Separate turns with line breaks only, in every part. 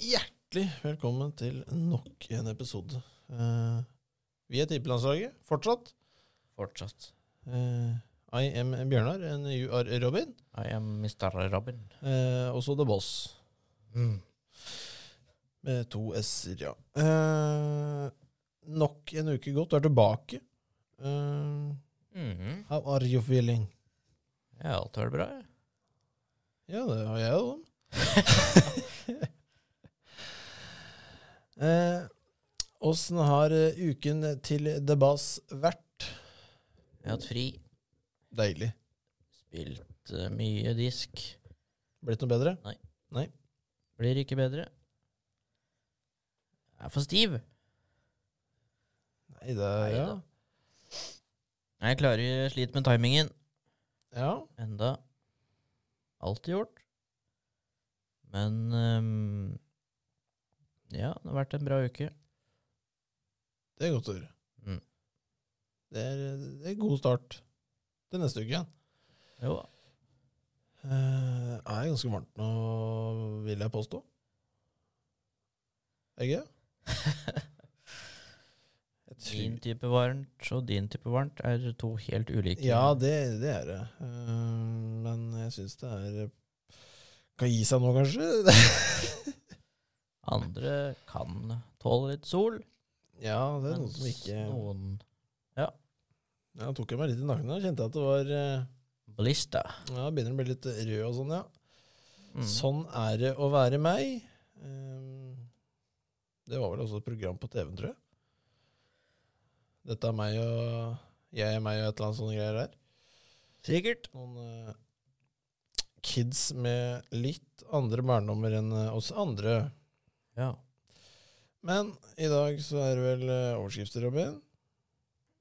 Hjertelig velkommen til nok en episode. Eh, vi er tippelandslaget, fortsatt.
Fortsatt.
Eh, I am Bjørnar, and you are Robin.
I am Mr. Robin.
Eh, og så The Boss, med to s-er, ja. Eh, nok en uke gått, du er tilbake. Eh,
Mhm.
how are you feeling?
Ja, alt var bra. ja.
Ja, det har jeg jo. eh, Åssen har eh, uken til The Boss vært?
Jeg har hatt fri.
Deilig.
Spilt eh, mye disk.
Blitt noe bedre?
Blir ikke bedre. Jeg er for stiv.
Nei, det er ja.
Neida. Jeg klarer sliter med timingen.
ja.
Enda. Alltid gjort. Men ehm, Ja, det har vært en bra uke.
Det er godt å høre.
Mm.
Det er, det er god start til neste uke igjen.
Jo.
Eh, det er ganske varmt nå, vil jeg påstå. Er det Ikke? Jeg
Din
tror-
type varmt og din type varmt er to helt ulike
Ja, det, det er det. Eh, men jeg syns det er Kan gi seg nå, kanskje?
Andre kan tåle litt sol.
ja, det er noen
mens
som ikke
noen
Ja, tok jeg meg litt i nakken og kjente jeg at det var eh,
Blista.
Ja, begynner å bli litt rød og sånn, ja.
Mm.
Sånn er det å være meg. Ehm, Det var vel også et program på TV, tror jeg. Dette er meg og Jeg er meg og et eller annet sånne greier der.
Sikkert.
Noen eh, kids med litt andre barndommer enn eh, oss andre.
Ja.
Men i dag så er det vel eh, overskrifter, Robin.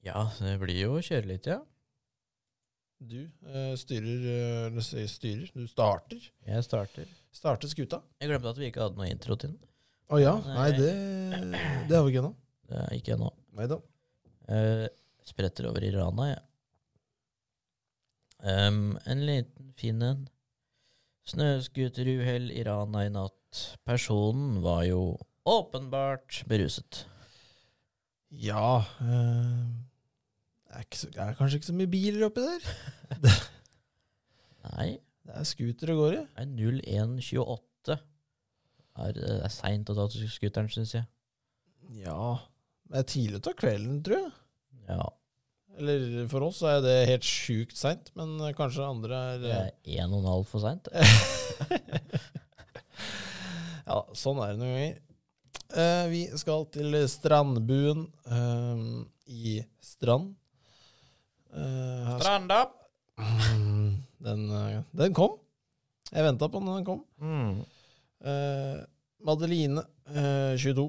ja, det blir jo kjøre litt, ja.
Du eh, styrer eh, Eller sier styrer. Du starter.
Jeg starter.
Starter skuta.
Jeg glemte at vi ikke hadde noe intro til den.
Å ja. Nei,
Nei.
det, det har vi ikke ennå.
Det er ikke ennå.
Nei da.
Eh, spretter over i rana, jeg. Em, en liten fin en. Snøscooteruhell i rana i natt. Personen var jo åpenbart beruset.
Ja eh, det, er ikke så, det er kanskje ikke så mye biler oppi der.
Nei,
Det er scooter det går i.
det er 0128. Er- Det er seint å ta til scooteren, syns jeg.
Ja. Det er tidlig ute av kvelden, tror jeg.
Ja,
Eller for oss er det helt sjukt seint, men eh, kanskje andre er
det
eh,
er en og en halv for seint.
Ja, sånn er det noen ganger. Eh, vi skal til Strandbuen eh, i Strand. Eh, her-
Stranda!
Den, eh, den kom. Jeg venta på den, den kom.
Mm.
Eh, Madeline, eh, 22,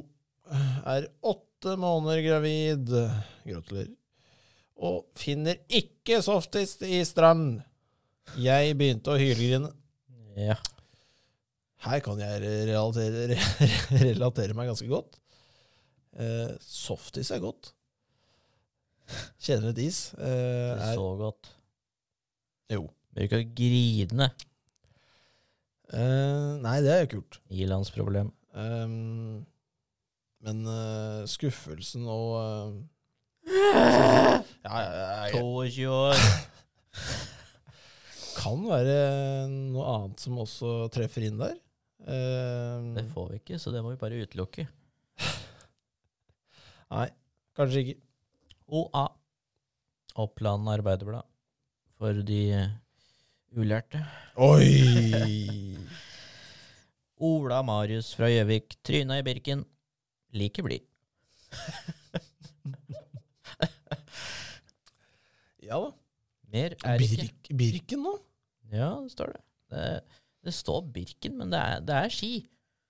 er åtte måneder gravid. Gratulerer. Og finner ikke softis i strand. Jeg begynte å hylgrine.
Ja.
Her kan jeg relatere, relatere meg ganske godt. Eh, softis er godt. Kjenner litt is. Eh,
Det
er,
så godt.
jo.
Bruk å grine.
Eh, nei, det er jo kult.
Ilandsproblem.
Ehm, men eh, skuffelsen og eh, ja, ja, ja,
22 år.
Det kan være noe annet som også treffer inn der. Ehm,
Det får vi ikke, så det må vi bare utelukke.
nei, kanskje ikke.
OA. Oppland Arbeiderblad. For de eh, ulærte.
Oi!
Ola Marius fra Gjøvik. Tryna i Birken. Like blid.
ja da.
Mer er ikke.
Birk, Birken nå?
Ja, det står det. Det, det står Birken, men det er, det er ski.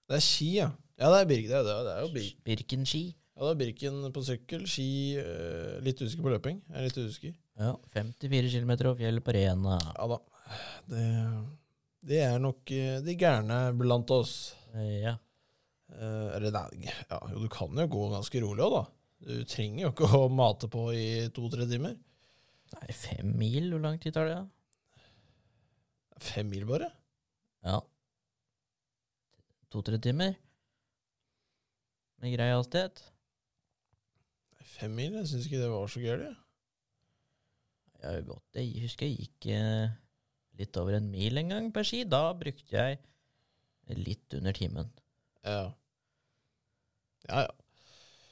Det er ski, ja. Ja, det er Birk. Det er, det er, det er jo Birk.
Birken ski.
Ja, det er Birken på sykkel, ski eh, Litt usikker på løping. Jeg er litt usikker.
Ja, 54 km og fjell på Rena.
Ja da. Det, det er nok eh, de gærne blant oss.
Ja.
Eh, eller nei, ja, jo, du kan jo gå ganske rolig òg, da. Du trenger jo ikke å mate på i to-tre timer.
Nei, fem mil, hvor lang tid tar det? da?
Fem mil, bare.
Ja. To-tre timer. med grei hastighet.
Fem mil? Jeg syns ikke det var så gærent.
Jeg, har gått, jeg husker jeg gikk eh, litt over en mil en gang per ski. Da brukte jeg litt under timen.
Ja. ja, ja.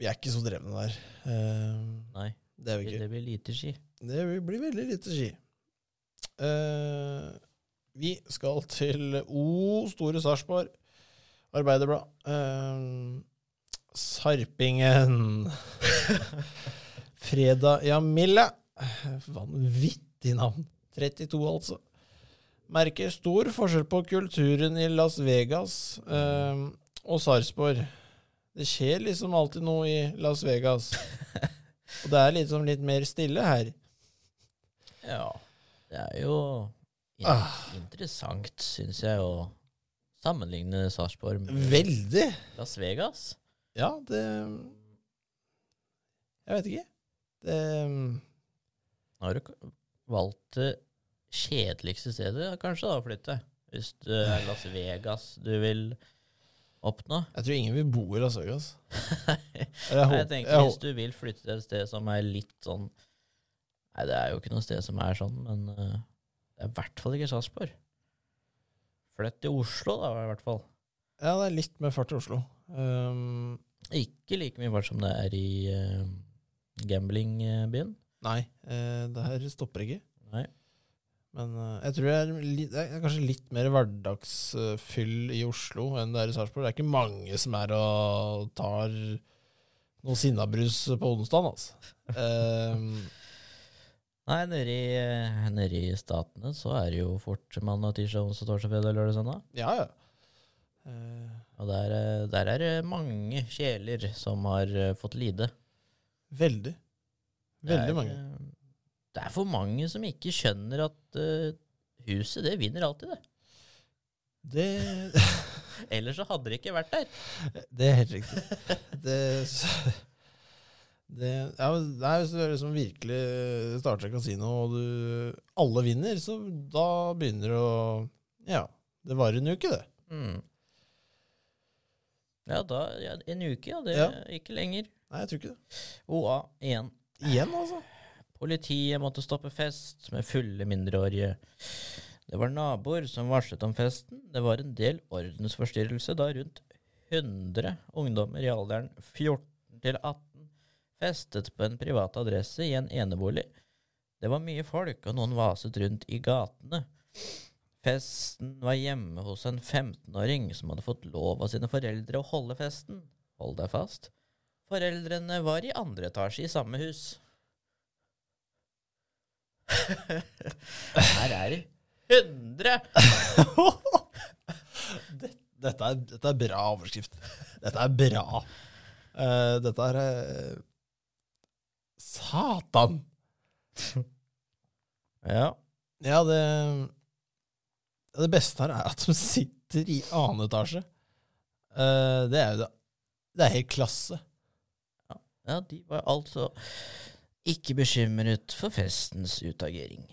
Vi er ikke så drevne der. Eh,
Nei,
det er vi ikke.
det blir lite ski.
Det blir veldig lite ski. Eh, vi skal til O Store Sarpsborg Arbeiderblad. Eh, Sarpingen. Freda Jamille. Vanvittig navn. 32, altså. Merker stor forskjell på kulturen i Las Vegas eh, og Sarpsborg. Det skjer liksom alltid noe i Las Vegas. Og det er liksom litt mer stille her.
Ja. Det er jo in
Ah.
interessant, syns jeg, å sammenligne Sarpsborg med
Veldig.
Las Vegas.
Ja, det Jeg vet ikke. Det
Nå har du k- valgt det kjedeligste stedet, kanskje, da, å flytte. Hvis det er Las Vegas du vil oppnå.
Jeg tror ingen vil bo i Las Vegas.
Nei,
Eller
jeg
håper-
tenker
jeg
Hvis
håper-
du vil flytte til et sted som er litt sånn Nei, det er jo ikke noe sted som er sånn, men eh, det er i hvert fall ikke Sarpsborg. Flytt til Oslo, da, i hvert fall.
Ja, det er litt mer fart i Oslo. Ehm,
Ikke like mye fart som det er i uh, gamblingbyen.
nei, eh, det her stopper ikke.
Nei.
Men eh, jeg tror det er, litt, det er kanskje litt mer hverdagsfyll i Oslo enn det er i Sarpsborg. Det er ikke mange som er og tar noe sinnabrus på onsdag, altså. Ehm,
Nei, nede i, eh, nede i Statene så er det jo fort mandag, tirsdag, onsdag, torsdag, fredag, lørdag, søndag.
ja, ja. Eh,
Og der, eh, der er det mange sjeler som har eh, fått lide.
veldig.
Det er,
Veldig mange.
eh, Det er for mange som ikke skjønner at eh, huset, det vinner alltid, det.
Det
Ellers så hadde det ikke vært der.
Det er helt riktig. Det, det, ja, men det er Hvis du liksom virkelig starter et kasino, og du, alle vinner, så da begynner det å Ja. Det varer en uke, det.
Mm. Ja, da, ja, en uke, ja. Det,
Ja.
Ikke lenger.
Nei, jeg tror ikke det.
OA igjen.
Igjen, altså.
Politiet måtte stoppe fest med fulle mindreårige. Det var naboer som varslet om festen. Det var en del ordensforstyrrelse da rundt 100 ungdommer i alderen 14 til 18 festet på en privat adresse i en enebolig. Det var mye folk, og noen vaset rundt i gatene. Festen var hjemme hos en 15-åring som hadde fått lov av sine foreldre å holde festen. Hold deg fast. Foreldrene var i andre etasje i samme hus. Her er det 100!
Dette er, dette er bra overskrift. Dette er bra. Eh, dette er eh, Satan!
Ja.
Ja, det Det beste her er at de sitter i annen etasje. Eh, det er jo det Det er helt klasse.
ja, de var altså ikke bekymret for festens utagering.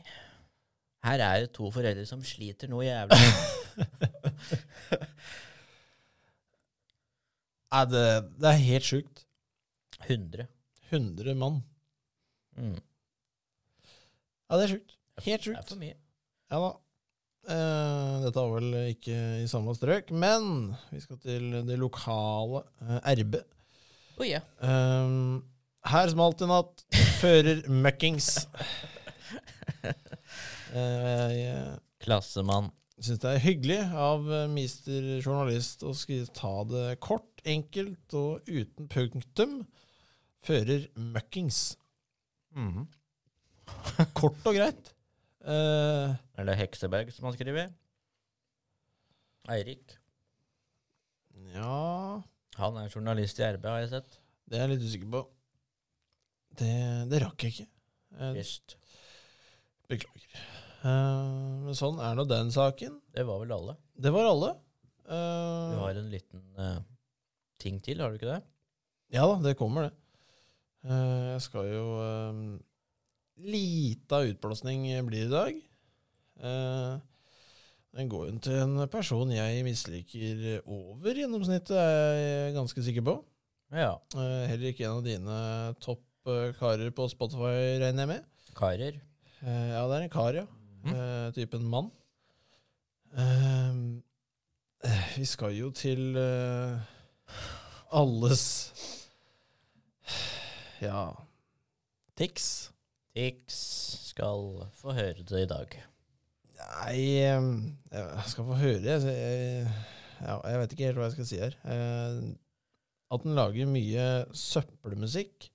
Her er det to foreldre som sliter noe jævlig.
Nei, det, det er helt sjukt.
100.
100 mann.
Mm.
Ja, det er sjukt. Helt
Det er
sjukt.
for mye.
Ja da. Eh, dette var vel ikke i samme strøk, men vi skal til det lokale eh, RB.
Å ja.
Eh, her smalt det i natt. Fører møkkings. Eh, jeg
Klassemann.
syns det er hyggelig av eh, mister journalist å skrive, ta det kort, enkelt og uten punktum. Fører møkkings. Kort og greit. Eh,
Er det Hekseberg som har skrevet? Eirik.
ja
Han er journalist i RB, har jeg sett.
Det er jeg litt usikker på. Det, det rakk jeg ikke. Eh,
Visst.
beklager. Eh, men sånn er nå den saken.
Det var vel alle.
Det var alle.
Du
Eh,
har en liten eh, ting til, har du ikke det?
Ja da, det kommer, det. Eh, jeg skal jo eh, Lita utblåsning blir det i dag. Eh, Den går jo til en person jeg misliker over gjennomsnittet, er jeg ganske sikker på.
Ja.
Eh, Heller ikke en av dine topp eh, karer på Spotify, regner jeg med.
Karer.
Eh, Ja, det er en kar, ja.
Mhm.
Eh, Typen mann. Ehm, eh, Vi skal jo til eh, alles Ja Tix?
Tix skal få høre det i dag.
Nei ehm, Jeg skal få høre. Jeg, jeg, ja, jeg vet ikke helt hva jeg skal si her. Eh, At den lager mye søppelmusikk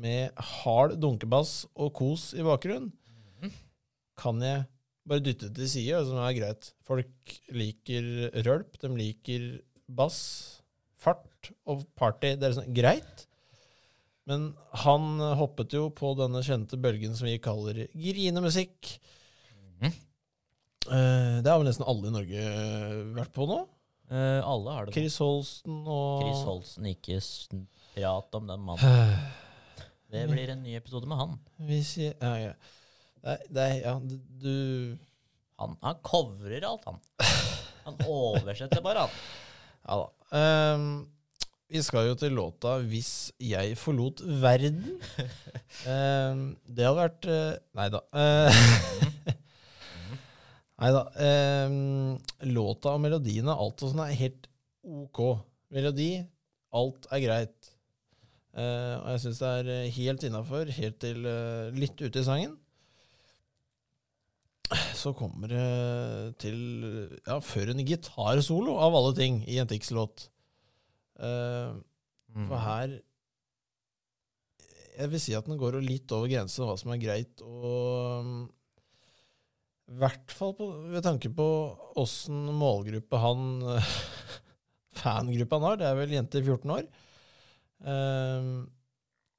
med hard dunkebass og kos i bakgrunnen, kan jeg bare dytte til side, som er greit. Folk liker rølp, de liker bass, fart og party. Det er sånn, greit. Men han hoppet jo på denne kjente bølgen som vi kaller grinemusikk.
Mhm.
Eh, Det har vel nesten alle i Norge vært på nå.
Eh, alle har det nå.
Chris Holsten og
Chris Holsten, ikke s- prat om den mannen.
Holsten.
Det blir en ny episode med han.
Hvis jeg, ja, ja. Nei, det er, ja, du, du
Han, han covrer alt, han. Han oversetter bare, han.
Ja da. Ehm, vi skal jo til låta 'Hvis jeg forlot verden'. Ehm, det hadde vært eh, Nei da. nei da. Ehm, låta og melodien og alt og sånn er helt ok. Melodi, alt er greit. Eh, og jeg syns det er eh, helt innafor, helt til eh, litt ute i sangen. Så kommer det til Ja, før en gitarsolo, av alle ting, i en Tix-låt. Eh,
Mm.
for her Jeg vil si at den går jo litt over grensen hva som er greit, og um, I hvert fall på, ved tanke på åssen målgruppe han Fangruppa han har. Det er vel jenter 14 år. Um,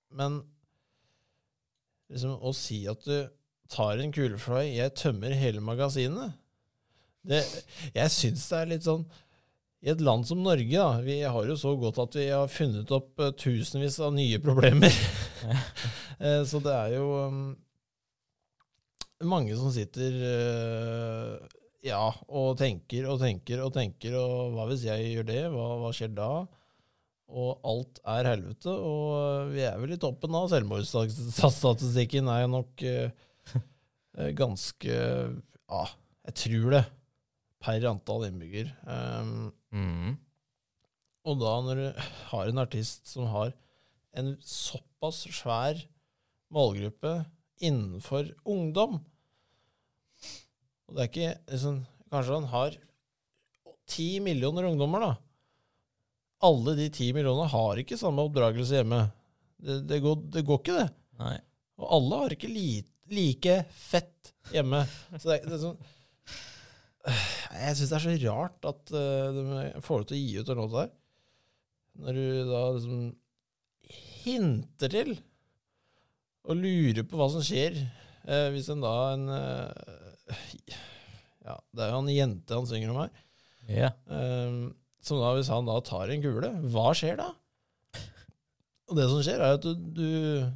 men liksom å si at du tar en kule for deg, jeg tømmer hele magasinet det, Jeg syns det er litt sånn i et land som Norge, da, vi har jo så godt at vi har funnet opp eh, tusenvis av nye problemer. Eh, så det er jo um, mange som sitter eh, ja, og tenker og tenker og tenker, og hva hvis jeg gjør det, hva, hva skjer da? Og alt er helvete, og eh, vi er vel i toppen av selvmordsstatistikken, er jo nok eh, eh, ganske Ja, jeg tror det, per antall innbygger. Um,
Mm.
og da når du har en artist som har en såpass svær målgruppe innenfor ungdom Og det er ikke liksom, Kanskje han har ti millioner ungdommer, da. Alle de ti millionene har ikke samme oppdragelse hjemme. Det, det, går, det går ikke, det.
Nei.
Og alle har ikke li, like fett hjemme. Så det, er- det er sånn Nei, Jeg syns det er så rart at eh, de får det til å gi ut en låt der, når du da liksom hinter til og lurer på hva som skjer, eh, hvis en da en eh, Ja, det er jo en jente han synger om her.
Ja.
Ehm, Som da, hvis han da tar en kule, hva skjer da? Og det som skjer, er at du, du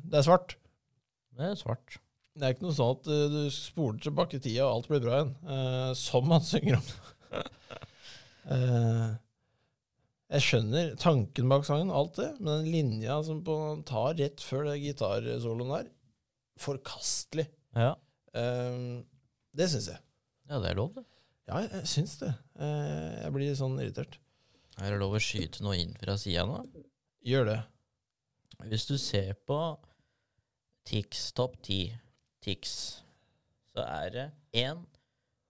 Det er svart.
Det er svart.
Det er ikke noe sånn at eh, du spoler tilbake i tida, og alt blir bra igjen. eh, som han synger om. Eh, jeg skjønner tanken bak sangen, alt det, men den linja som på, han tar rett før det gitarsoloen der, forkastelig.
Ja.
Eh, det syns jeg.
ja, det er lov, det.
Ja, jeg, jeg syns det. Eh, jeg blir sånn irritert.
Er det lov å skyte noe inn fra sida nå?
Gjør det.
Hvis du ser på Tix topp 10 Tix, så er det én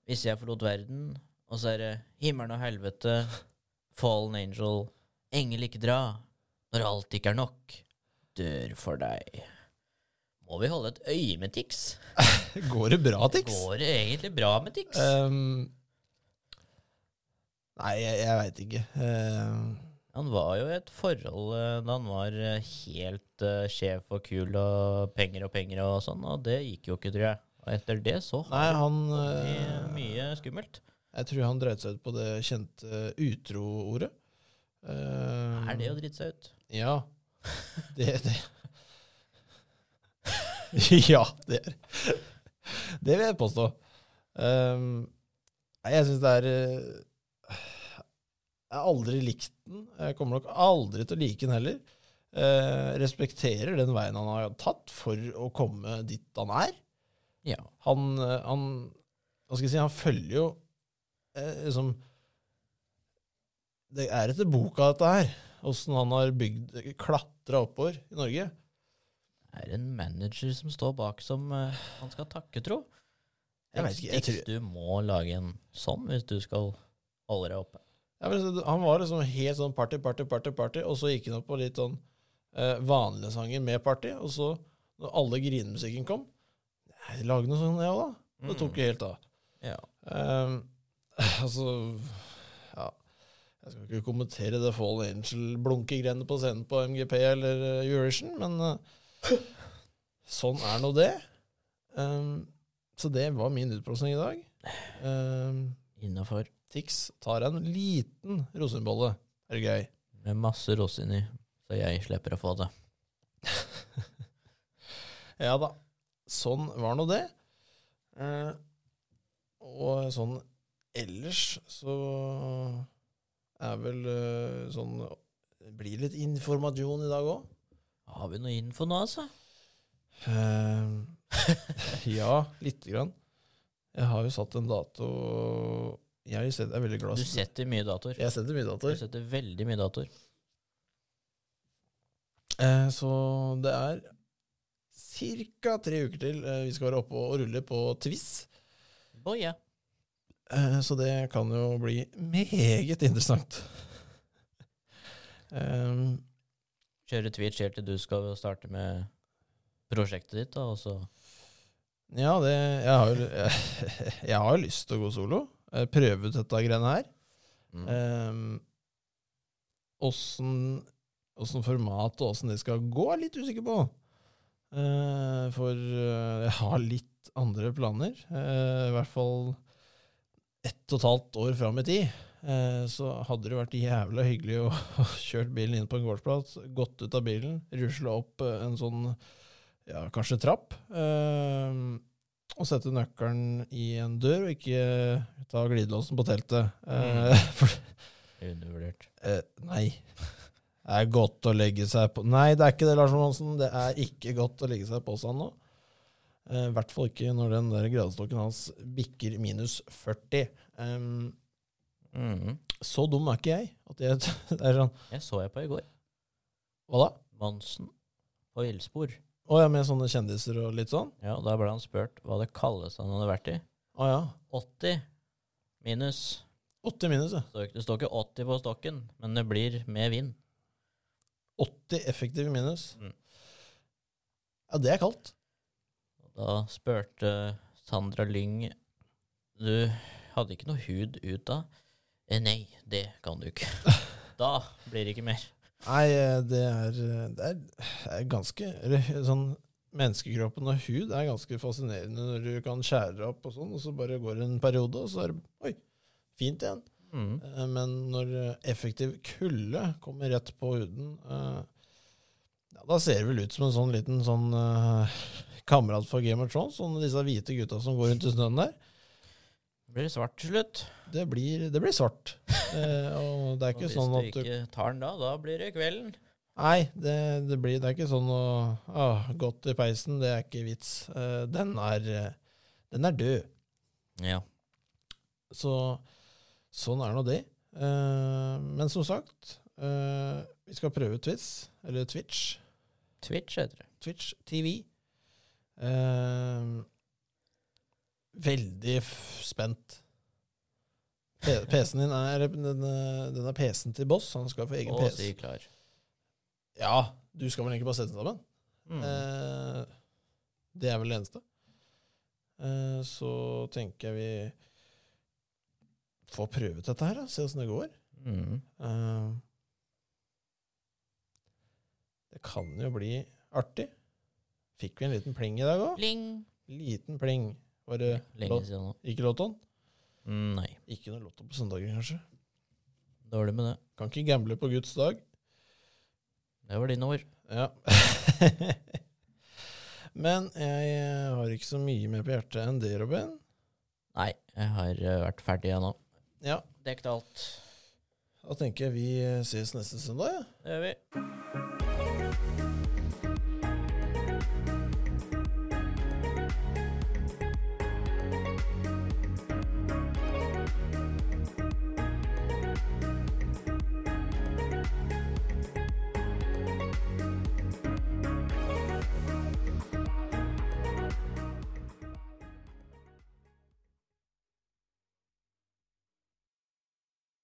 Hvis jeg forlot verden, og så er det Himmelen og helvete, Fallen Angel, Engel ikke dra, Når alt ikke er nok, Dør for deg. Må vi holde et øye med Tix?
Går det bra, Tix?
Går det egentlig bra med Tix?
Ehm, nei, jeg, jeg veit ikke. Ehm,
Han var jo i et forhold eh, da han var eh, helt eh, sjef og kul og penger og penger og sånn, og det gikk jo ikke, tror jeg. Og etter det så
nei,
har
han
det
eh,
vært mye skummelt.
Jeg tror han dreit seg ut på det kjente utro-ordet. Eh,
Er det å drite seg ut?
Ja. Det, det. ja, det er det vil jeg påstå. Um, Nei, jeg syns det er eh, Jeg har aldri likt den. Jeg kommer nok aldri til å like den heller. Eh, respekterer den veien han har tatt for å komme dit han er.
Ja.
Han, eh, han Hva skal jeg si, han følger jo eh, liksom Det er etter boka, dette her. Åssen han har bygd klatra oppover i Norge.
Er det en manager som står bak som eh, han skal takke, tro?
Jeg vet ikke, jeg
Stix, Du må lage en sånn hvis du skal holde deg oppe.
Ja, men så- han var liksom helt sånn party, party, party, party, og så gikk han opp på litt sånn eh, vanlige sanger med party, og så, når alle grinemusikken kom, jeg lagde noe sånt, jeg òg, da. Det tok jo helt av.
Ja.
Ehm, altså Ja. Jeg skal ikke kommentere det Fall Angel-blunkegreiene på scenen på MGP eller eh, Eurovision, men eh, sånn er nå det. Ehm, så det var min utblåsning i dag. Um,
Innafor.
Tix tar en liten rosinbolle. Er det gøy?
Med masse rosin i, så jeg slipper å få det.
Ja da. Sånn var nå det. Eh, og sånn ellers så er vel eh, sånn Det blir litt informasjon i dag òg.
Har vi noe info nå, altså?
Eh, ja, lite grann. Jeg har jo satt en dato Jeg set- er veldig glad
Du setter mye datoer.
Jeg setter mye
Du
datoer.
setter veldig mye datoer.
Eh, Så det er ca. tre uker til eh, vi skal være oppe og rulle på Twiz.
Boy, ja.
Eh, Så det kan jo bli meget interessant. Ehm,
Kjøre Twitch helt til du skal starte med prosjektet ditt, da, og så
ja, det, jeg, har, jo- jeg har jo lyst til å gå solo. eh, Prøve ut dette greiene her.
mm.
Ehm, Åssen åssen format og åssen det skal gå, er jeg litt usikker på. Eh, for eh, jeg har litt andre planer. Eh, I hvert fall ett og et halvt år fram i tid. Eh, så hadde det vært jævla hyggelig å ha kjørt bilen inn på en gårdsplass, gått ut av bilen, rusla opp eh, en sånn ja, kanskje trapp, eh, og sette nøkkelen i en dør, og ikke ta glidelåsen på teltet. Eh, for
Undervurdert.
Eh, nei. Det er godt å legge seg på Nei, det er ikke det, Lars Monsen. Det er ikke godt å legge seg på seg nå. Eh, I hvert fall ikke når den der gradestokken hans bikker minus 40. Ehm,
Mm.
så dum er ikke jeg. At jeg det er sånn
Jeg så jeg på i går.
Hva da?
Monsen på ildspor.
Å ja, med sånne kjendiser og litt sånn?
Ja, og da ble han spurt hva det kaldeste han hadde vært i.
Å ja.
80 minus.
80 minus, ja.
Så Det står ikke 80 på stokken, men det blir med vind.
80 effektive minus.
Mm.
Ja, det er kaldt.
Da spurte Sandra Lyng Du hadde ikke noe hud ut da? Eh, nei, det kan du ikke. Da blir det ikke mer.
Nei, eh, det er, eh, det er, det er ganske eller, sånn, Menneskekroppen og hud er ganske fascinerende når du kan skjære det opp og sånn, og så bare går det en periode, og så er det Oi, fint igjen.
Mm.
Eh, Men når eh, effektiv kulde kommer rett på huden, eh, ja, da ser det vel ut som en sånn liten sånn eh, kamerat fra Game of Thrones, sånn disse hvite gutta som går rundt i snøen der.
Blir det svart til slutt?
Det blir, det blir svart. Eh, og det er
Og
ikke
hvis
sånn
du
at du
ikke tar den da, da blir det kvelden.
Nei, det, det, blir, det er ikke sånn å ah, Godt i peisen, det er ikke vits. Eh, den, er, eh, den er død.
Ja.
Så sånn er nå det. Eh, men som sagt, eh, vi skal prøve Twitch, eller Twitch.
Twitch heter det.
Twitch TV. Eh, veldig f spent. P- PC-en din er den, eh, den er PC-en til Boss. Han skal få egen
Og
PC.
si klar.
Ja, du skal vel egentlig bare sette den sammen?
Mm.
Eh, det er vel det eneste. Eh, så tenker jeg vi får prøvet dette her, da. Se åssen det går.
Mm.
Eh, det kan jo bli artig. Fikk vi en liten pling i dag òg?
Pling.
Liten pling. Var det
Lenge siden nå.
ikke lottoen?
Mm, nei.
Ikke noe lotto på søndager, kanskje.
Dårlig med det.
Kan ikke gamble på Guds dag.
Det var dine ord.
Ja. Men jeg har ikke så mye mer på hjertet enn det, Robin.
Nei, jeg har eh, vært ferdig jeg nå.
Ja,
Dekket alt.
da tenker jeg vi eh, ses neste søndag, ja.
Det gjør vi.